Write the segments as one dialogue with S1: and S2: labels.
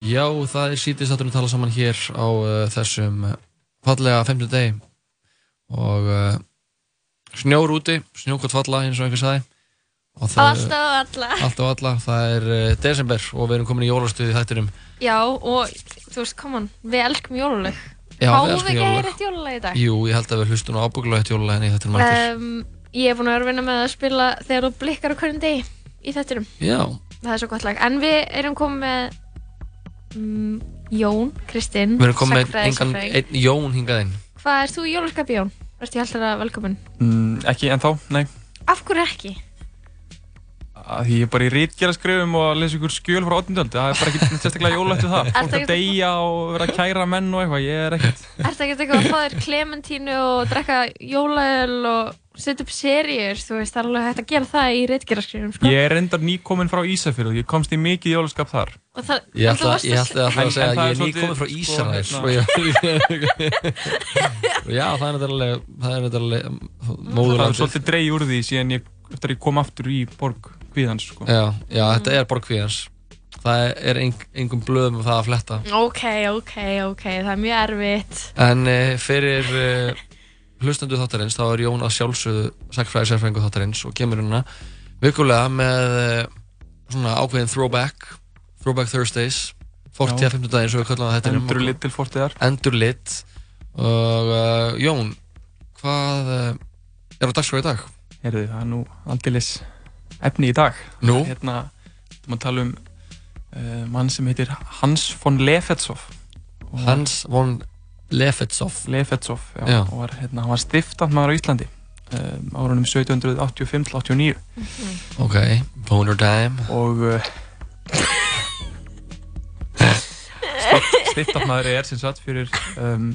S1: Já, það er sítið satturum að tala saman hér á uh, þessum fallega 5. degi og uh, snjór úti, snjókvæmt falla eins og einhver sagði og
S2: Á
S1: það-
S2: alltaf og alla.
S1: allt og alla, það er uh, desember og við erum komin í jólastuði þættinum
S2: Já, og þú veist, come on, við elskum jóluleg.
S1: Já, við
S2: Fáum við
S1: elskum
S2: ekki að
S1: jólalag.
S2: heyra eitt jóluleg í dag?
S1: Jú, ég held að við hlustum á ábúkulega eitt jólalega henni hérna í þættinum eftir
S2: Um, ég er búin að vera að vinna með að spila þegar þú blikkar á hverjum degi í þetturum.
S1: Já,
S2: Það er svo gott lag. En við erum komið með um, Jón, Kristinn,
S1: við erum komin með
S2: sagnfræði,
S1: engan,
S2: sagnfræði.
S1: einn Jón hingað inn
S2: Hvað er þú í jólaskapi, Jón? Verður ég alltaf velkominn?
S3: Mm, ekki ennþá, nei.
S2: Af hverju ekki?
S3: Að Því ég er bara í rítgjara skrifum og að lesa ykkur skjöl frá 18. öld. Það er bara ekkert sérstaklega jólægt við það. Fólk
S2: Ertu
S3: að deyja og vera að kæra menn og eitthvað. Ég er ekkert.
S2: Ertu ekkert eitthvað að fá þér klementínu og drekka jólaöl og setja upp seríur, þú veist, það er alveg hægt að gera það í reitgeraskrifum, sko.
S3: Ég er reyndar nýkominn frá Ísafjörðu. Ég komst í mikið jólaskap þar.
S2: Og það,
S1: Ég
S2: en þú
S1: ætla,
S2: varst
S1: ég ætla að fara að
S3: En-
S1: segja
S3: en
S1: að ég
S3: það
S1: er
S3: er
S1: nýkominn frá
S3: svolítið, sko,
S1: Ísrael
S3: hérna.
S1: og ég- og Já, það er náttúrulega það er náttúrulega
S3: Það er
S1: móðurlandið
S3: svolítið dreig úr því síðan ég, eftir að ég kom aftur í borg kvíðans, sko.
S1: Já, já, þetta er borgkvíðans Það er ein- engum blöðum um það að fletta
S2: Ok, ok, ok, það er mjög erfitt.
S1: En eh, fyrir eh, hlustendu þáttarins þá er Jón að sjálfsögðu sagfræði sérfræðingu þáttarins og kemur hérna vikulega með eh, svona ákveðin throwback Throwback Thursdays 40
S3: Já.
S1: að 50 daginn sem við köllum að þetta
S3: Endur litil fortiðar.
S1: Endurlitt og uh, Jón, hvað uh, er á dagskrá í dag?
S3: Herðu, það er nú aldilis efni í dag.
S1: Nú?
S3: Hérna, þú maður tala um uh, mann sem heitir Hans von Lefetsov. Og-
S1: Hans von Lefetsov
S3: Lefetsov, já,
S1: Já.
S3: og var, hérna, hann var stiftat maður á Íslandi um, árunum 1785-89
S1: Ok, Boner Dime
S3: og uh, stiftat maður er sem sagt fyrir um,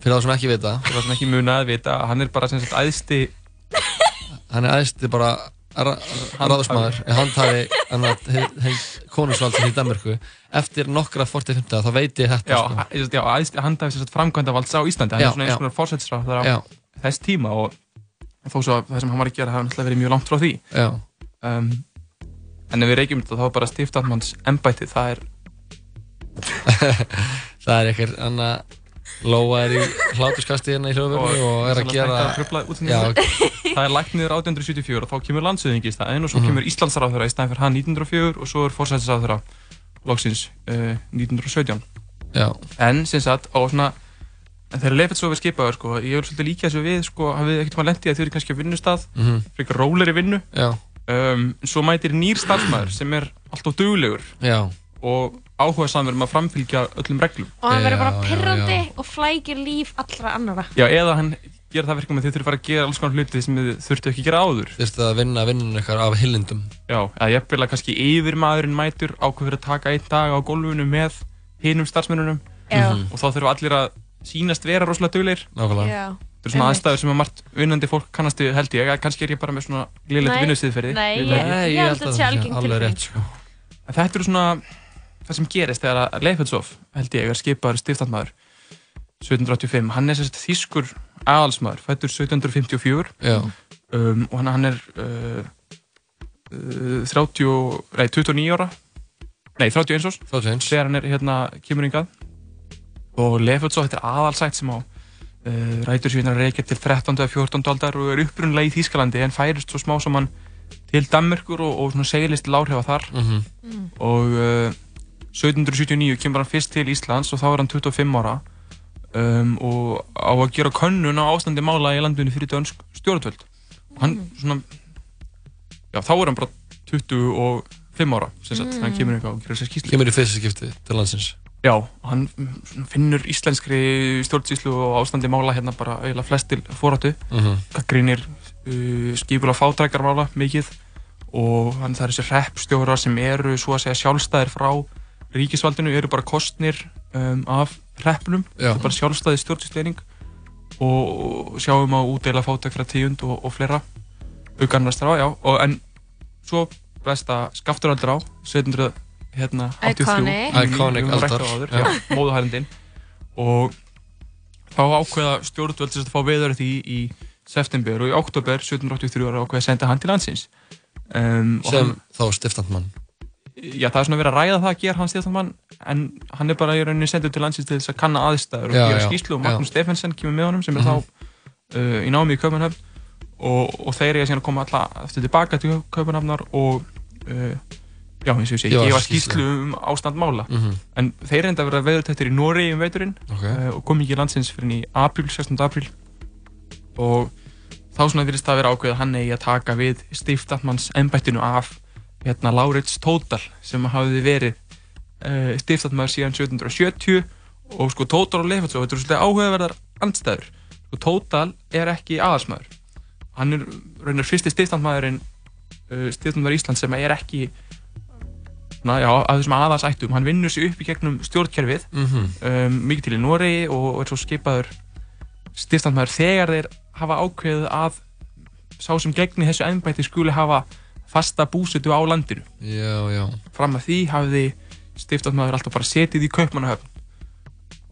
S1: Fyrir þá sem ekki vita,
S3: fyrir það sem ekki muna að vita að hann er bara sem sagt æðsti
S1: hann er aðeins bara ra- ráðsmaður eh, handhafi hann að konusvaldi í Danmarku eftir nokkra 40-50 þá veit ég
S3: já,
S1: þetta sko.
S3: æ- sem sagt, já, æðsti, hann dæfi sem sagt framkvæmdavalds á Íslandi hann
S1: Já,
S3: er svona
S1: já.
S3: eins konar fórsætsráð
S1: Já,
S3: þess tíma og þó svo að það sem hann var að gera það hafði verið mjög langt frá því
S1: já,
S3: um, en ef við reykjum þetta þá er bara stiftatmanns embætið, það er
S1: það er eitthvað hann að Lóa er í hlátuskasti hérna í hljóðverðinu og er að
S3: Svona
S1: gera
S3: hægt að trufla út um
S1: Já,
S3: þetta.
S1: ok,
S3: Það er lagt niður 1874 og þá kemur landsöðingi í staðinn og svo kemur Íslandsráðherra í staðinn fyrir hann 1904 og svo er forsætisráðherra loksins uh, 1917.
S1: já,
S3: En sem sagt á svona, en þegar Leifetsov er skipaður sko, ég vil svolítið líka þessu við sko, hafið ekkert maður lendið að þið eru kannski á vinnustað,
S1: mhm,
S3: frekar róleri vinnu,
S1: já,
S3: um, svo mætir nýr starfsmæður sem er alltaf duglegur
S1: já
S3: og áhuga samverð um að framfylgja öllum reglum.
S2: Og hann verður
S1: Já,
S2: bara
S1: já,
S2: pirrandi
S1: já.
S2: og flækir líf allra annara.
S3: Já, eða hann gera það verkum að þið þurfið að fara að gera alls konar hluti sem þið þurftu ekki að gera áður.
S1: þurfti að vinna vinnunum ykkar af hyllindum
S3: Já, eða jafnvel að kannski yfir maðurinn mætur ákveður að taka einn dag á gólfinu með hinum starfsmennunum
S2: Já,
S1: Mhm,
S3: og þá þurfa allir að sínast vera rosalega dugleir.
S1: nákvæmlega
S2: já.
S3: Þetta
S2: Einmitt.
S3: eru svona aðstæður sem að margt vinnandi fólk kannast við held ég, eða kannski er ég bara með svona
S2: Nei.
S3: glilegt vinnusiðferði.
S2: Nei,
S3: Ég veit
S1: Nei,
S2: ég-
S3: það ekki.
S2: held að
S1: það
S2: sé
S1: sé
S2: algeng
S1: alveg
S2: tilfinning.
S1: rétt sko.
S3: En Þetta eru svona það sem gerist þegar að Leifetsov, held ég, er skipaður stiftandmaður 1785. Hann er sérst þýskur aðalsmaður, fættur 1754
S1: Já,
S2: Mhm.
S3: um, og hann, hann er uh, uh, 30, og- nei, 29 ára, nei, 31 árs.
S1: þá tveins
S3: þegar hann er hérna kemur hingað og Lefutso, þetta er aðalsætt sem á uh, rætur síðan að reykja til 13. eða 14. aldar og er upprunlega í Þýskalandi en færist svo smá saman til Danmerkur og, og svona seglist láhrifa þar
S1: Mhm,
S3: og uh, 1779 kemur hann fyrst til Íslands og þá er hann 25 ára um, og á að gera könnun á ástandi mála í landinu fyrir dönsk stjórnvöld og hann svona já þá er hann bara 25 ára sem sagt, hann kemur hingað og gerir sér skýrslu
S1: Kemur í fyrsta skipti til landsins
S3: Já, hann svona finnur íslenskri stjórnsýslu og ástandi mála hérna bara eiginlega flestil fóráttu.
S1: Mhm,
S3: Gaggrínir uh, skipula fátækarmála mikið og hann það er þessi reppstjóra sem eru svo að segja sjálfstæðir frá ríkisvaldinu, eru bara kostnir um, af reppnum,
S1: Já,
S3: bara sjálfstæði stjórnsýsleining og, og sjáum að útdeila fátæk frá tíund og, og fleira aukanvestar á, já, og en svo besta skaftur aldrei á 1783 hérna, 83
S2: Iconic.
S1: Iconic aldar. Já.
S3: aldar móðuhærendin og þá ákveða stjórnvöld sem sagt að fá veður því í september og í oktober 1783 ára ákveða að senda hann til landsins um, og
S1: sem
S3: hann,
S1: þá stiftandmann
S3: já, það er svona verið að ræða það að gera hann stíðastamann en hann er bara í rauninni sendur til landsins til þess að kanna aðstæður og
S1: Já,
S3: gera
S1: já,
S3: skýslu
S1: já.
S3: og
S1: Mhm.
S3: Magnús Stefensen kemur með honum sem er þá uh, í námi í Kaupanhöfn og, og þeir eiga síðan að koma alltaf eftir tilbaka til Kaupanhöfnar og uh, já, eins og ég sé,
S1: Gefa
S3: gefa
S1: skýrslu.
S3: skýslu um ástand mála
S1: Mm
S3: en þeir reynda að vera veðurtættir í Noregi um veiturinn
S1: Ok,
S3: uh, og kom ekki í landsins fyrir í apríl, 16. apríl og þá svona virðist það að vera ákveðið að hann eigi að taka við stiftatmanns embættinu af hérna Lárits Tótal sem hafði verið uh, stiftatmaður síðan 1770 og sko Tótal og Leifertsson, þetta eru svolítið áhugaverðar andstæður, sko Tótal er ekki aðalsmaður hann er raunar fyrsti stiftatmaðurinn uh, stiftatmaður Ísland sem er ekki na, já, af þessum aðalsættum hann vinnur sig upp í gegnum stjórnkerfið
S1: mhm,
S3: um, mikið til í Noregi og, og er svo skipaður stiftandmaður þegar þeir hafa ákveðið að sá sem gegni þessu ennbætti skuli hafa fasta búsetu á landinu.
S1: já, já
S3: Fram að því hafði stiftandmaður alltaf bara setið í kaupmannahöfn.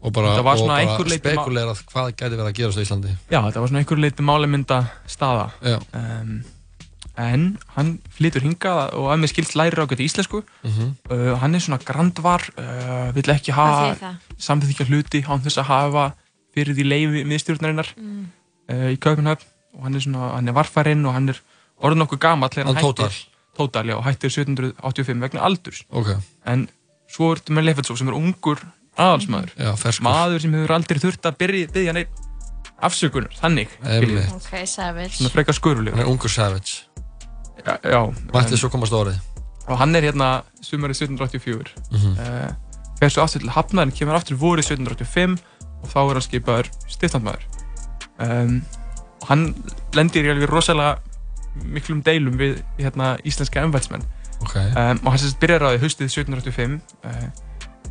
S1: og bara,
S3: Þetta var
S1: og
S3: svona
S1: bara
S3: einhver leiti ma-
S1: spekulerað hvað gæti verið að gera á Íslandi
S3: Já, þetta var svona einhver leiti málemynda staða.
S1: já,
S3: Um, en hann flytur hingað og að mér skilst lærir ágætt íslensku.
S1: mm
S3: Uh, hann er svona grandvar, uh, vill ekki
S2: Hvað þýðir
S3: hafa
S2: það?
S3: samþykja hluti án þess að hafa fyrir því leifi miðstjórnarinnar
S2: Mm.
S3: uh, í Kaupinhöfn og hann er, svona, hann er varfærinn og hann er orðin okkur gamall þegar
S1: hann tótar
S3: Tótal, já, hættir 1785 vegna aldurs
S1: ok,
S3: en svo ertu með Leifetsov sem er ungur aðalsmaður
S1: já, ferskur
S3: maður sem hefur aldrei þurft að byrja, byrja neitt afsökunar, þannig skiljið.
S1: Einmitt.
S2: Ok, savage
S3: svona frekar
S1: hann
S3: skurfulegur
S1: er ungur savage
S3: já, já,
S1: mætti
S3: en,
S1: svo komast á orðið
S3: og hann er hérna sumarið 1784
S1: Mhm.
S3: uh, fer svo aftur til Hafnar en kemur aftur vorið 1785 og þá er hann skipaður stiftandmaður um, og hann lendir í alveg rosalega miklum deilum við hérna, íslenska ennvætsmenn
S1: ok,
S3: um, og hann sérst byrjar á því haustið 1785 uh,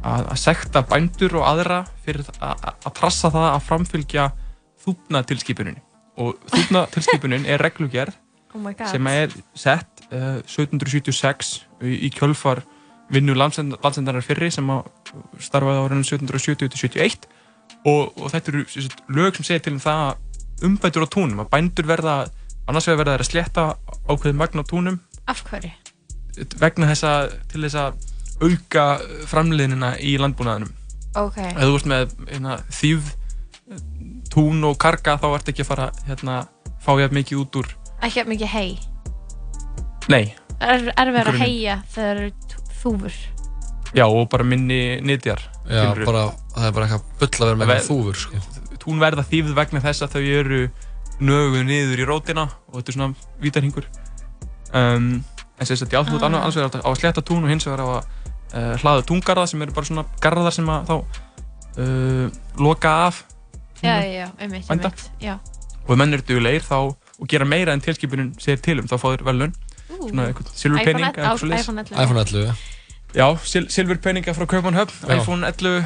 S3: að, að sekta bændur og aðra fyrir að- að að trassa það að framfylgja þúfnatilskipunin og þúfnatilskipunin er reglugerð
S2: Oh my god
S3: sem er sett uh, 1776 í, í kjölfar vinnu landsend, landsendarar fyrri sem að starfaði á árunum 1770-71 og, og þetta eru sem sagt, lög sem segir til um það að umbætur á túnum, að bændur verða annars vegar verða þeir að sletta ákveðið magn á túnum
S2: Af hverju?
S3: vegna þess að til þess að auka framleiðinina í landbúnaðinum
S2: Ok
S3: ef þú ert með hérna, þýð tún og karga þá ert ekki að fara hérna, fá ég mikið út úr
S2: Ekki jafn mikið hei
S3: nei,
S2: Er, er verið að
S3: Grunni.
S2: heia þegar það eru tú- þúfur
S3: já og bara minni nýtjar
S1: já,
S3: skilurðu.
S1: bara, það er bara eitthvað bull að vera með
S3: Ve-
S1: eitthvað þúfur sko.
S3: tún verða þýfð vegna þess að þau eru nöguð niður í rótina og þetta er svona vítarhingur um, en sem sagt, já, þú ert
S2: Ah.
S3: annars vegar átt að- á að sletta tún og hins vegar á að uh, hlaða túngarða sem eru bara svona garðar sem að þá uh, loka af
S2: Já, já, já, einmitt,
S3: Vænda.
S2: einmitt Já
S3: og ef menn eru duglegir þá og gera meira en tilskipunin segir til um, þá fá þér velun
S2: Ú,
S3: svona einhvern silfurpening
S2: iPhone 11
S3: eða
S2: á-
S3: eitthvað svoleiðis.
S1: iPhone
S2: iPhone 11
S1: 11
S3: já, sil silfurpeninga frá Kaupmannhöfn
S1: Já.
S3: iPhone 11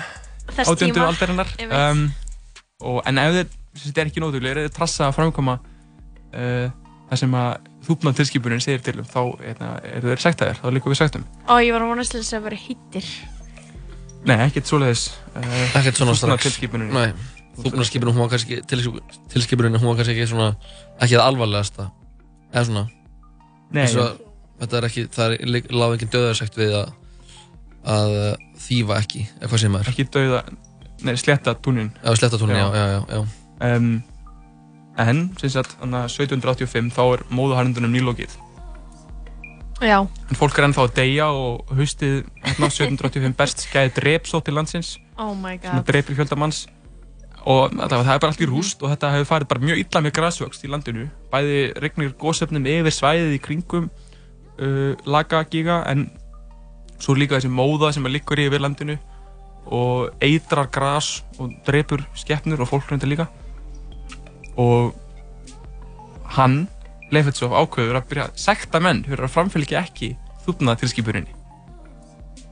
S2: Þess
S3: átjöndu
S2: tíma
S3: aldarinnar
S2: Einmitt.
S3: um, og, en ef þeir þetta er ekki nótuglega, ef þeir trassa að framkoma uh, það sem að þúpna tilskipunin segir til um þá hérna, eru þeir sektaðir, þá líka við sektum
S2: Ó, ég var vonast til þess að vera hittir
S3: Nei, ekkert svoleiðis uh,
S1: ekkert svona
S3: þúpna
S1: strax
S3: tilskipunin
S1: Nei, þúfnarskipunum, hún var kannski tilskip- tilskipunin, hún var kannski ekki svona ekki það alvarlegasta eða svona,
S3: Nei,
S1: eins og þetta er ekki, það er lík- lá engin döðarsekt við að að uh, þýfa ekki, eða hvað sem er
S3: ekki dauða Nei, sletta túnin
S1: eða sletta tónin, já,
S3: Já.
S1: já, já, já.
S3: um, En, sem sagt, þannig að 1785 þá er móðuharndunum nýlokið
S2: Já,
S3: En fólk er ennþá að deyja og haustið hérna, 1785 berst skæði drepsótt til landsins
S2: oh my
S3: sem
S2: god
S3: dreipir fjöldamanns og allavega, það er bara allt í rúst og þetta hefur farið bara mjög illa með græsvöxt í landinu bæði regnir gósefnum yfir svæðið í kringum uh, lagagíga en svo líka þessi móða sem er liggur yfir landinu og eitrar græs og dreipur skeppnur og fólk reyndar líka og hann Leifetsov ákveður að byrja að sekta menn fyrir að framfylgja ekki þúfnað tilskipuninni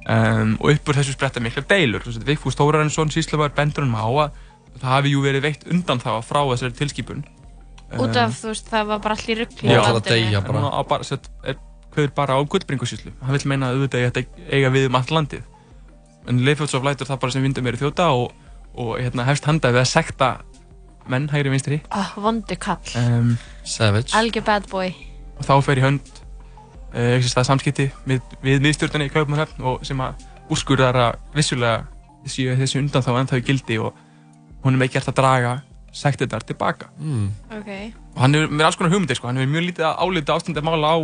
S3: um, og uppur þessu spretta mikla deilur Svo sem sagt, Vigfús Þórarinsson síslumar bendur hann á að það hafi jú verið veitt undan þá frá þessari tilskipun
S2: Út af, þú veist, það var bara allir ruggli
S1: hún
S3: Já.
S1: var að deyja
S3: um, en
S1: bara
S3: hún á bara sett, er, hveður bara á gullbringusíslu hann vil meina að auðvitað eigi þetta eiga við um allt landið en Leifjótsov lætur það bara sem vindur meiri þjóta og, og hérna, hefst handa við að sekta menn hægri vinstri
S2: oh, Vondu Ah, kall
S3: um,
S1: Savage
S2: Algjör bad boy
S3: og þá fer í hönd uh, ekki stað samskipti við, við miðstjórnina í Kaupmannhöfn og sem að úrskurðar að vissulega séu þessi undan þá ennþá í gildi og hún er með gert að draga sektirnar tilbaka
S1: mm.
S2: ok,
S3: og hann hefur með alls konar hugmyndir sko, hann hefur mjög lítið að álita ástandi mála á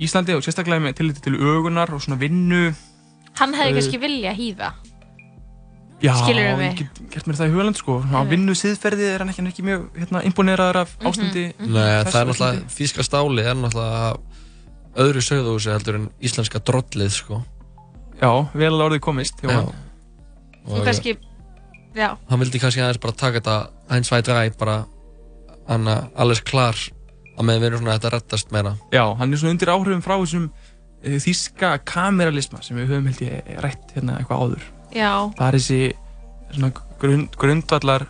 S3: Íslandi og sérstaklega með tilliti til ögunar og svona vinnu
S2: hann hefði
S3: Eh,
S2: kannski vilja hýða
S3: Já,
S2: Skilurðu mig?
S3: ég get gert mér það í hugaland sko, á
S2: Mm.
S3: vinnu siðferði er hann ekki, hann er ekki mjög hérna, imponeraður af
S2: Mhm.
S3: ástandi
S1: Nei,
S3: Þessu
S1: það er
S3: var
S1: náttúrulega, þýska stáli er náttúrulega öðru sögðúsi heldur en íslenska drollið, sko.
S3: Já, vel að orðið komist hjá
S1: Já.
S3: hann.
S2: þú
S1: Og
S2: kannski, já,
S1: hann vildi kannski aðeins bara taka þetta eins væt ræ, bara hann alles klar að með verið svona þetta rettast meira.
S3: Já, hann er svona undir áhrifum frá þessum eh, þýska kameralisma sem við höfum held ég rætt hérna eitthvað áður
S2: já
S3: það er þessi svona grund, grundvallar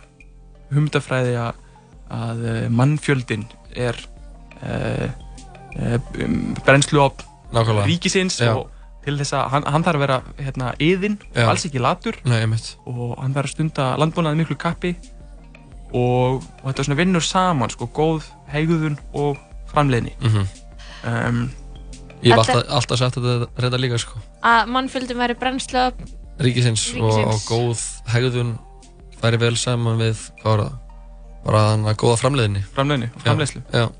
S3: humdafræði að, að eh, mannfjöldin er uh, uh, brennslu á
S1: Nákvæmlega.
S3: ríkisins
S1: Já.
S3: og til þess að hann, hann þarf að vera hérna, yðin,
S1: Já.
S3: alls ekki latur
S1: Nei, einmitt.
S3: og hann þarf að stunda landbúnaði miklu kappi og, og þetta svona vinnur saman sko, góð hegðun og framleiðni
S1: Mm
S3: um,
S1: Ég hef
S2: Þetta-
S1: alltaf, alltaf sagt þetta reynda líka, sko.
S2: að mannfjöldum væri brennslu upp
S1: Ríkisins, Og, og
S2: Ríkisins.
S1: góð hegðun færi vel saman við, hvað var það? Bara hann að góða framleiðinni.
S3: framleiðni
S1: Já.
S3: og framleiðslu
S1: Já,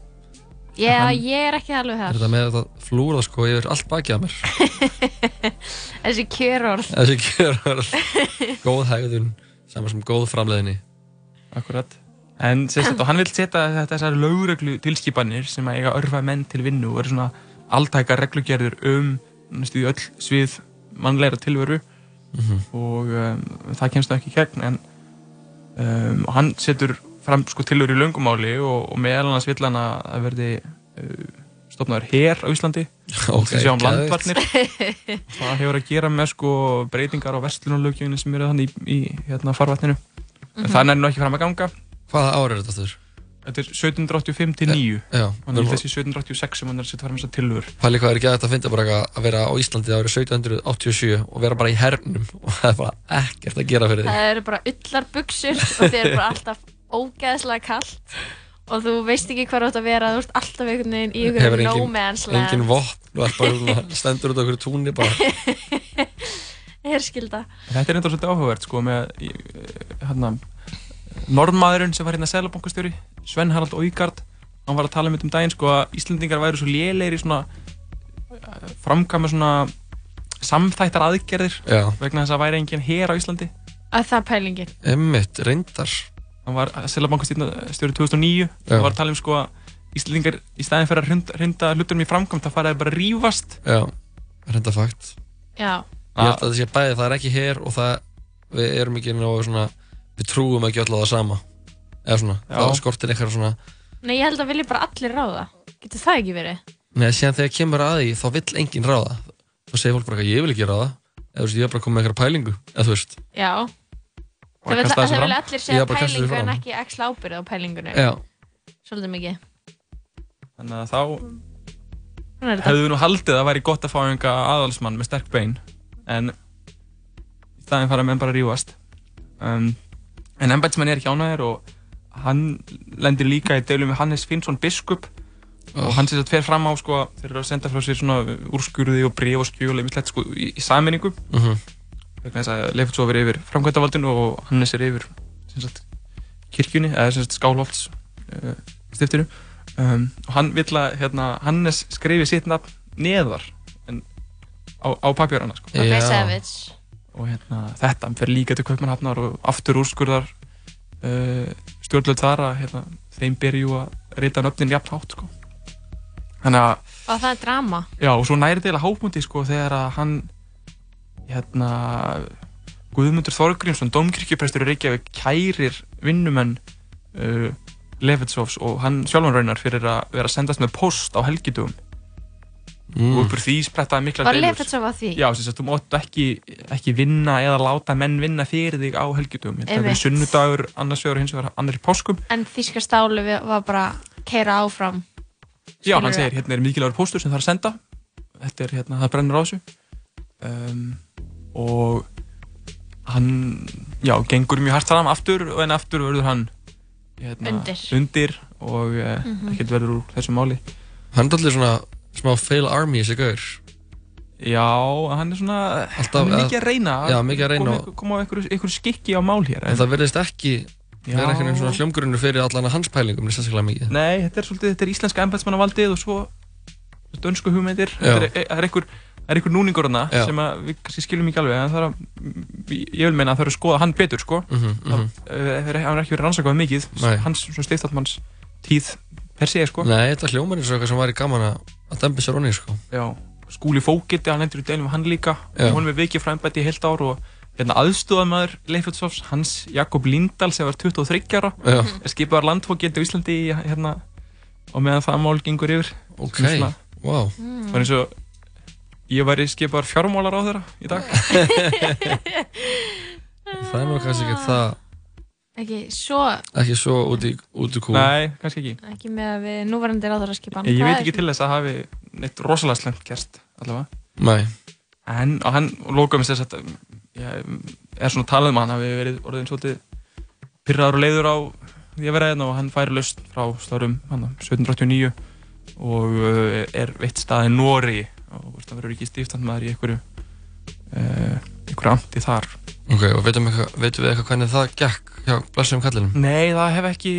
S2: já,
S3: Hann-
S2: ég er ekki alveg
S1: er
S2: þar
S1: þetta með þetta flúra, sko, yfir allt bakið að mér.
S2: þessi kjörorð
S1: Þessi kjörur Góð hegðun Saman sem góð framleiðinni
S3: Akkurat. En sérstætt, og hann vil setja þetta- þessar lögreglu tilskipanir sem að eiga að örfa menn til vinnu og eru svona alltækar reglugerður um næstu í öll svið mannlegra tilveru og um, það kemst það ekki í gegn en um, og hann setur fram sko tilveru í löngumáli og, og meðal annars vill hann að það verði uh, stofnaður her á Íslandi
S1: Ok,
S3: okay, sjá um
S1: geðveikt.
S3: landvarnir það hefur að gera með sko breytingar á vestlunarlögjöfinu sem eru þannig í, í hérna, farvatninu mm -hmm. það er nú ekki fram að ganga
S1: Hvaða ár er þetta þurr?
S3: Þetta er 1785 til 9
S1: Já, um-
S3: Hann er
S1: við erum
S3: þessi 1786 sem hann er að setja fram þessar tilur
S1: Pæli hvað er ekki að þetta finna bara eitthvað að vera á Íslandi árið 1787 og vera bara í hernum og það er bara ekkert að gera fyrir þig
S2: það eru bara ullar buksur og þið eru bara alltaf ógeðslega kallt og þú veist ekki hvað þú átt að vera þú ert alltaf einhvern veginn í
S1: Hefur
S2: einhverjum
S1: engin-
S2: nómeðanslega
S1: Engin vopn og er bara svona, stendur út á okkur túnni bara
S2: herskilda
S3: Þetta er enda svolítið áhugavert sko með hérna Norrmaðurinn sem var hérna selabankastjóri Sven Harald Óygard Hann var að tala um þetta um daginn sko að Íslendingar væru svo lélegir í svona eh, framkvæma svona samþættar aðgerðir
S1: Já,
S3: vegna þess að væri enginn her á Íslandi
S2: að það er pælingin
S1: emmitt, reyndar
S3: hann var eh, selabankastjóri 2009
S1: Já.
S3: hann var að tala um sko að Íslendingar í staðin fyrir að hrinda, hrinda hlutunum í framkvæmt það faraði bara að rífast
S1: Já, reynda fakt
S2: já,
S1: Ég
S3: Ah.
S1: held að það sé bæði, það er ekki her og það við erum ekki ná svona við trúum ekki öll á það sama eða svona,
S3: Já.
S1: það skortir eitthvað svona
S2: nei ég held að vilja bara allir ráða getur það ekki verið
S1: Nei, síðan þegar kemur að því, þá vill enginn ráða. Þá segir fólk bara eitthvað, ég vil ekki ráða. Eða þú veist, ég er bara að koma með eitthvað pælingu. Eða þú veist,
S2: já,
S3: og
S2: það
S3: að kasta
S2: vilja
S3: þessu fram
S2: vil allir
S1: Já,
S2: segja
S1: bara kasta þessu
S2: pælingu en
S1: fram.
S2: ekki ekki slábyrð á pælingunni
S3: Eh.
S1: já,
S2: svolítið mikið
S3: Þannig að þá
S2: Svona er þetta.
S3: hefðu nú haldið að það væri gott að fá einhverja aðalsmann með sterk bein en í staðin fara menn bara að rífast um, en embætsmann er ekki ánæður og hann lendir líka í deilum við Hannes Finnsson biskup
S1: Ah.
S3: og hann sér að fer fram á sko, þeir eru að senda frá sér svona úrskurði og bref og skjöl emislegt sko í, í saminningu
S1: mhm,
S3: vegna þess að Leifert svo verið yfir framkvæmdavaldinu og Hannes er yfir sem sagt, kirkjunni eða sem sagt, skálholts uh, stiftinu um, og hann vill að hérna, Hannes skrifi sitt nafn neðar en, á, á papjörana sko.
S2: ok,
S1: Já.
S2: savage
S3: og hérna, þetta fer líka til Kaupmannhafnar og aftur úrskurðar uh, stjórnlega þar að hérna, þeim byrju að rita nöfnin jafn hátt sko. þannig að
S2: og það er drama
S3: Já, og svo næri til að hápundi sko þegar að hann hérna Guðmundur Þorgrímsson, domkirkjuprestur í Reykjavík kærir vinnumenn uh, Lefetsovs og hann sjálfan raunar fyrir að vera að sendast með post á helgidum og
S1: mm,
S3: uppur því sprettaði mikla
S2: var Lefetsov að því
S3: Já, sem sagt, þú mátt ekki, ekki vinna eða láta menn vinna fyrir þig á helgidum Þetta
S2: Einmitt.
S3: er sunnudagur, annars vegar og hins vegar annar í páskum
S2: en þýska stálu við- var bara að keira áfram
S3: Já, hann
S2: Skilurðu?
S3: segir, hérna er mikilvægur póstur sem það er að senda Þetta er, hérna, það brennur á þessu um, Og hann, já, gengur mjög hart fram aftur og en aftur verður hann hérna,
S2: Undir. Mhm.
S3: undir og uh, ekkert verður úr þessu máli
S1: hann er allir svona smá fail army þessi gaur
S3: Já, hann er svona,
S1: Alltaf
S3: hann er
S1: að-
S3: mikið að reyna
S1: Já, mikið að reyna
S3: koma,
S1: og-
S3: einhver- koma á einhverju, einhverju skikki á mál hér
S1: en það verðist ekki vera einhvern veginn svona
S3: Já.
S1: hljómgrunnur fyrir allan hans pælingum neitt sérstaklega mikið
S3: Nei, þetta er svolítið, þetta er íslenska embætsmannavaldið og svo dönsku hugmyndir
S1: Já.
S3: Þetta er, e- það er einhver, það er einhver núningur hana
S1: Já.
S3: sem að við kannski skiljum ekki alveg en það er að, m- ég vil meina að það er að skoða hann betur sko
S1: mm -hmm,
S3: mm -hmm. hann er ekki verið rannsakað mikið
S1: Nei.
S3: hans svona stiftallmanns tíð per se sko
S1: Nei, þetta hljómar eins og eitthvað sem væri gaman að að dembi sér onni sko.
S3: Já, skúli fókiti, hann endur í deilum við hann líka
S1: Já.
S3: og honum er vikið frá embætti í heilt ár og hérna aðstúðamæður Leifjöldsofs, hans Jakob Lindahl sem var 23 ára
S1: Já,
S3: er skipaðar landfókiti á Íslandi í, hérna, og meðan það mál gengur yfir
S1: ok,
S3: Sem svona-
S1: wow
S3: Það var eins og ég væri skipaðar fjármálar á þeirra í dag.
S1: Það er nú kannski ekki það
S2: Ekki, svo,
S1: ekki svo út í, út í kú
S3: Nei, kannski ekki.
S2: ekki með að við núverandi ráðaraskipan
S3: Eh, Ég veit ekki til þess að hafi neitt rosalega slemt gerst allavega.
S1: Nei.
S3: En og hann lókaðum þess að ég er svona talað um að hann hafi verið orðin svolítið pyrraður og leiður á því að vera hérna og hann færi laust frá slárum hann 1789 og uh, er veitt stað í Nóri og veist, hann verður ekki stíftandmaður í einhverju uh, einhverju amti þar
S1: Ok, og veitum, eitthvað, veitum við eitthvað hvernig það gekk hjá blessum kallinum?
S3: Nei, það hefur ekki,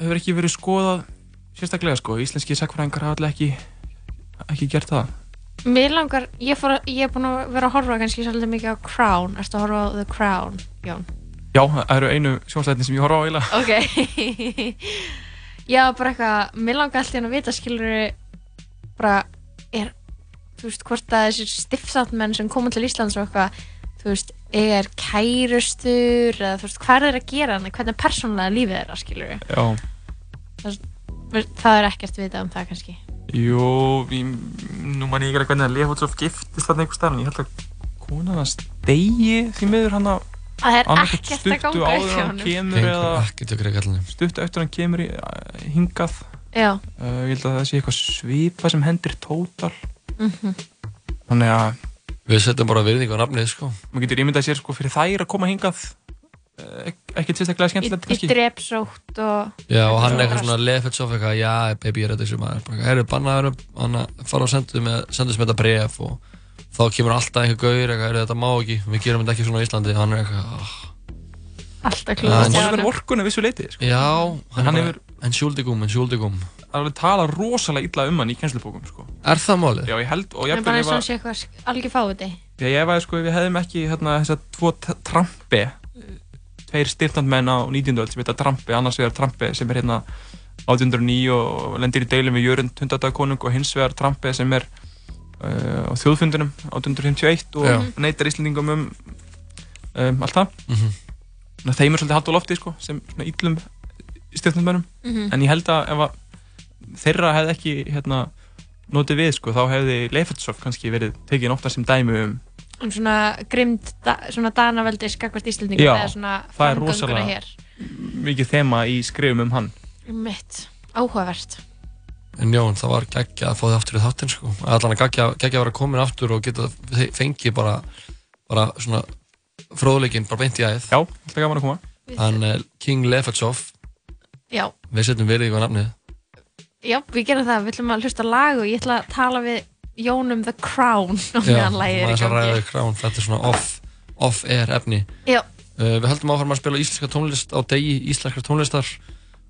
S3: hefur ekki verið skoðað sérstaklega sko. Íslenski sakfræðingar hafa allir ekki, ekki gert það.
S2: Mér langar, ég, fór, að- ég er búin að vera að horfa kannski svolítið mikið á Crown Erstu að horfa á The Crown, Jón?
S3: Já, það eru einu sjónslætin sem ég horfa á eiginlega.
S2: Ok Já, bara eitthvað, mér langar alltaf að vita skilur bara, er, þú veist, hvort að þessir stiftsatmenn sem koma til Íslands og eitthvað, þú veist, er kærustur eða þú veist, hvað er að gera hann hvernig er persónlega lífið þeirra, skilur
S3: Já.
S2: það er ekkert vitað um það kannski
S3: Jú, ég, nú man ég ekki hvernig að Leifotsof giftist þarna einhver staðan. Ég held að konan hans degi því miður hann að
S2: Það er
S3: annað
S2: ekkert að
S3: stuttu
S2: ganga upp hjá
S3: áður en hann
S2: honum
S3: kemur eða
S1: Gengur ekki til greið kallinum
S3: stuttu eftir hann kemur í, að, hingað.
S2: Já,
S3: Uh, ég held að það sé eitthvað svipa sem hendir tótal.
S2: mm
S3: Þannig að
S1: Við setjum bara virðingu á nafnið, sko
S3: maður getur ímyndað sér sko fyrir þær að koma hingað eh, ek- ekkert sérstaklega
S2: í,
S3: skemmtilegt
S2: í
S3: kannski
S2: drepsótt og
S1: Já, og hann
S2: Já.
S1: er eitthvað svona lefett svo eitthvað Já, baby, ég er þetta sem maður Bara, Herru, bannaður, hann að fara og sendu með, sendu sem þetta bref og þá kemur alltaf einhver gaur eitthvað, "Heyrðu, þetta má ekki, við gerum þetta ekki svona á Íslandi hann er eitthvað, oh. Já, en-
S2: alltaf
S3: hann
S2: klúðast hjá
S3: hefur
S2: honum.
S3: orkun að vissu leiti sko.
S1: já
S3: En hann
S1: bara,
S3: hefur-
S1: en sjúldigum, en sjúldigum
S3: alveg tala rosalega illa um hann í kennslubókum sko.
S1: Er það málið?
S3: já ég held og
S2: Það er bara
S3: jafnvel
S2: eins
S3: ég
S2: og hann
S3: var
S2: sé eitthvað sk- algjör fáiði
S3: ég efaði sko ef við hefðum ekki hérna þessa tvo t- trampi eh, tveir styrtandmenn á 19. öld sem heita trampi annars vegar trampi sem er hérna 1809 og lendir í deilum við Jörund hundadakonung og hins vegar trampi sem er uh, á þjóðfundunum 1851 og
S1: Já.
S3: neytar Íslendingum um, um allt það
S1: Mm
S3: Ná, þeim er svolítið hald á lofti sko, sem svona illum stjórnumönnum
S2: Mhm.
S3: en ég held að ef að þeirra hefði ekki hérna, notið við sko, þá hefði Leifertsov kannski verið tekin ofta sem dæmi um
S2: um svona grimd da, svona danaveldi skakvart Íslendinga
S3: Já,
S2: eða svona
S3: það er
S2: framgönguna
S3: rosalega-
S2: hér
S3: mikið þema í skrifum um hann
S2: mitt, áhugavert
S1: En Jón, það var geggja að fá þið aftur í þáttinn sko. Allan að geggja, geggja að vera komin aftur og geta fe- fengið bara, bara svona fróðleikinn bara beint í æð.
S3: Já, alltaf gaman að koma
S2: Við-
S1: Hann uh, King Lefatsov,
S2: já,
S1: við setjum verið ykkur nafnið.
S2: já, við gerum það, við ætlum að hlusta á lag og ég ætla að tala við Jón um The Crown og meðan lagið er í
S1: maður sem ræður
S2: gangi
S1: krán, þetta er svona off, off air efni.
S2: já,
S1: Uh, við höldum áfram að spila íslenska tónlist á degi íslenskar tónlistar.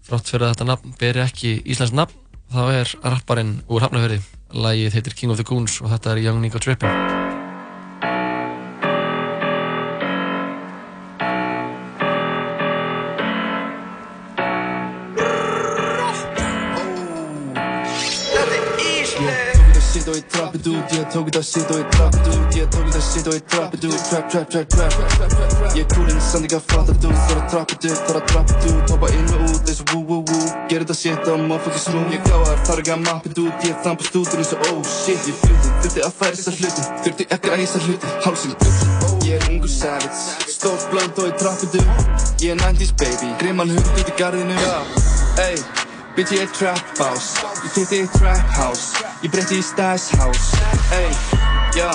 S1: Frátt fyrir að þetta nafn beri ekki íslensk nafn, þá er rapparinn úr hafnafjörði. Lagið heitir King of the Goons og þetta er Young Nico Trippin.
S4: tók þetta shit og ég trappi dút Ég tók þetta shit og ég trappi dút Ég tók þetta shit og ég trappi dút Trap, trap, trap, trap Ég er kúlinn sannig að fatta dút Það er að trappi dút, það er að trappi dút Hoppa inn og út eins og woo, woo, woo Gerðu þetta shit á motherfucking smooth Ég kláar, þarf ekki að mappi dút Ég þampa stútur eins og oh shit Ég fluti, þurfti að færa þessa hluti Þurfti ekki að æsa hluti, hálsinn Ég er ungu savage Stórt blönd og ég trappi dút Ég er 90s baby Grimman hund út í garðinu Ey Bitch, ég er trap house Ég kefti eitt trap house Ég breytti í stash house Ey, já,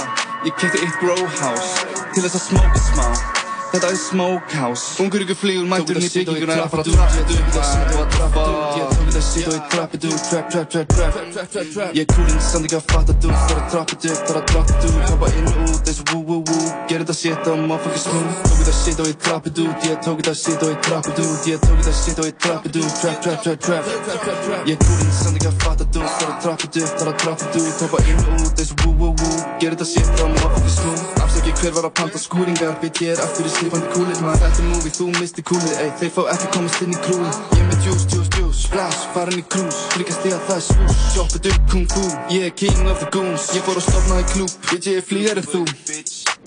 S4: ég kefti eitt grow house Til þess að smóka smá Það þetta er smokehouse Ungur ykkur flýgur, mætur inn í bygginguna að fara að
S5: trappa
S4: trappa þetta upp, það sýttu að trappa Ég tók þetta sýttu í trappa þetta upp, trap, trap, trap, trap Ég er kúlinn, samt ekki að fatta þú Þar að trappa þetta upp, þar að trappa þetta upp Hoppa inn og út, þessu woo woo woo Gerðu þetta shit á motherfucking smooth Tók þetta shit og ég trappa þetta út Ég tók þetta shit og ég trappa þetta út Ég tók þetta shit og ég trappa þetta út Trap, trap, trap, trap Ég er kúlinn, samt ekki að fatta þú Þar að trappa þetta upp, þar að trappa þetta upp Hoppa inn og út, þessu woo woo woo Gerðu þetta shit á motherfucking smooth Afsaki hver var að panta skúringar Við ég er aftur í slipandi kúlið maður Þetta er movie, þú misti kúlið Ey, þeir fá ekki komast inn í krúið Ég er með juice, juice, juice Splash, farin í krús Fríkast ég að það er svús Choppið upp kung fu Ég er king of the goons Ég fór að stopna í klúb Bitch, ég er flýjar en þú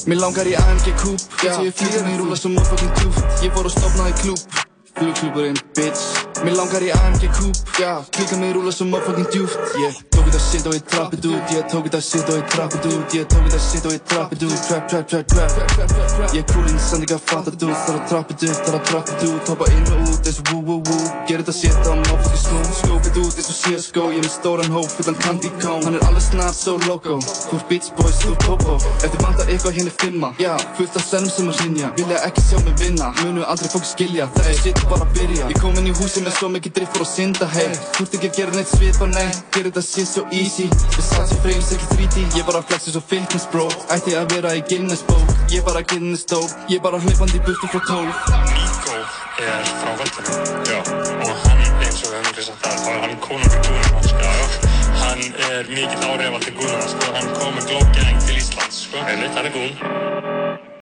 S4: Mér langar í AMG kúp Bitch, ég er flýjar en þú Rúla svo motherfucking djúft Ég fór að stopna í klúb Flugklúburinn, bitch Mér langar í AMG kúp Já, klíka mig rúla svo motherfucking djúft Ég tók þetta shit og ég trappið út Ég tók þetta shit og ég trappið út Ég tók þetta shit og ég trappið út Trap, trap, trap, trap Ég er kúlinn, sann ekki að fatta þú Þar að trappið upp, þar að trappið út Hoppa inn og út, þessu woo, woo, woo Gerðu þetta shit á motherfucking snú Skópið út, þessu CSGO Ég er með stóran hóp, fullan candy cone Hann er alveg snart, so loco Þú er bitch boys, þú er popo Ef þið vantar eitthvað hinn er fimma Já, fullt af sennum sem að hrinja Vilja ekki sjá mig vinna Munu aldrei fólk skilja Þeir shit bara að byrja Ég kom inn í húsi með svo mikið drift fyrir að synda Hey, þú ert ekki að gera neitt svip og nei Gerðu þetta shit so easy Ég satt í frames ekki 3D Ég bara flexi svo fitness bro Ætti að vera í Guinness bók Ég bara Guinness dope Ég bara hlaupandi í burtu frá 12
S6: Míkó er frá völlunum Já Og hann, eins og við höfum ekki sagt það Þá er hann konungur gúðunar sko. Já, já. Hann er mikill áreifaldi gúðunar sko. Hann kom með glókjæðing til Íslands sko. Einmitt, hann er gún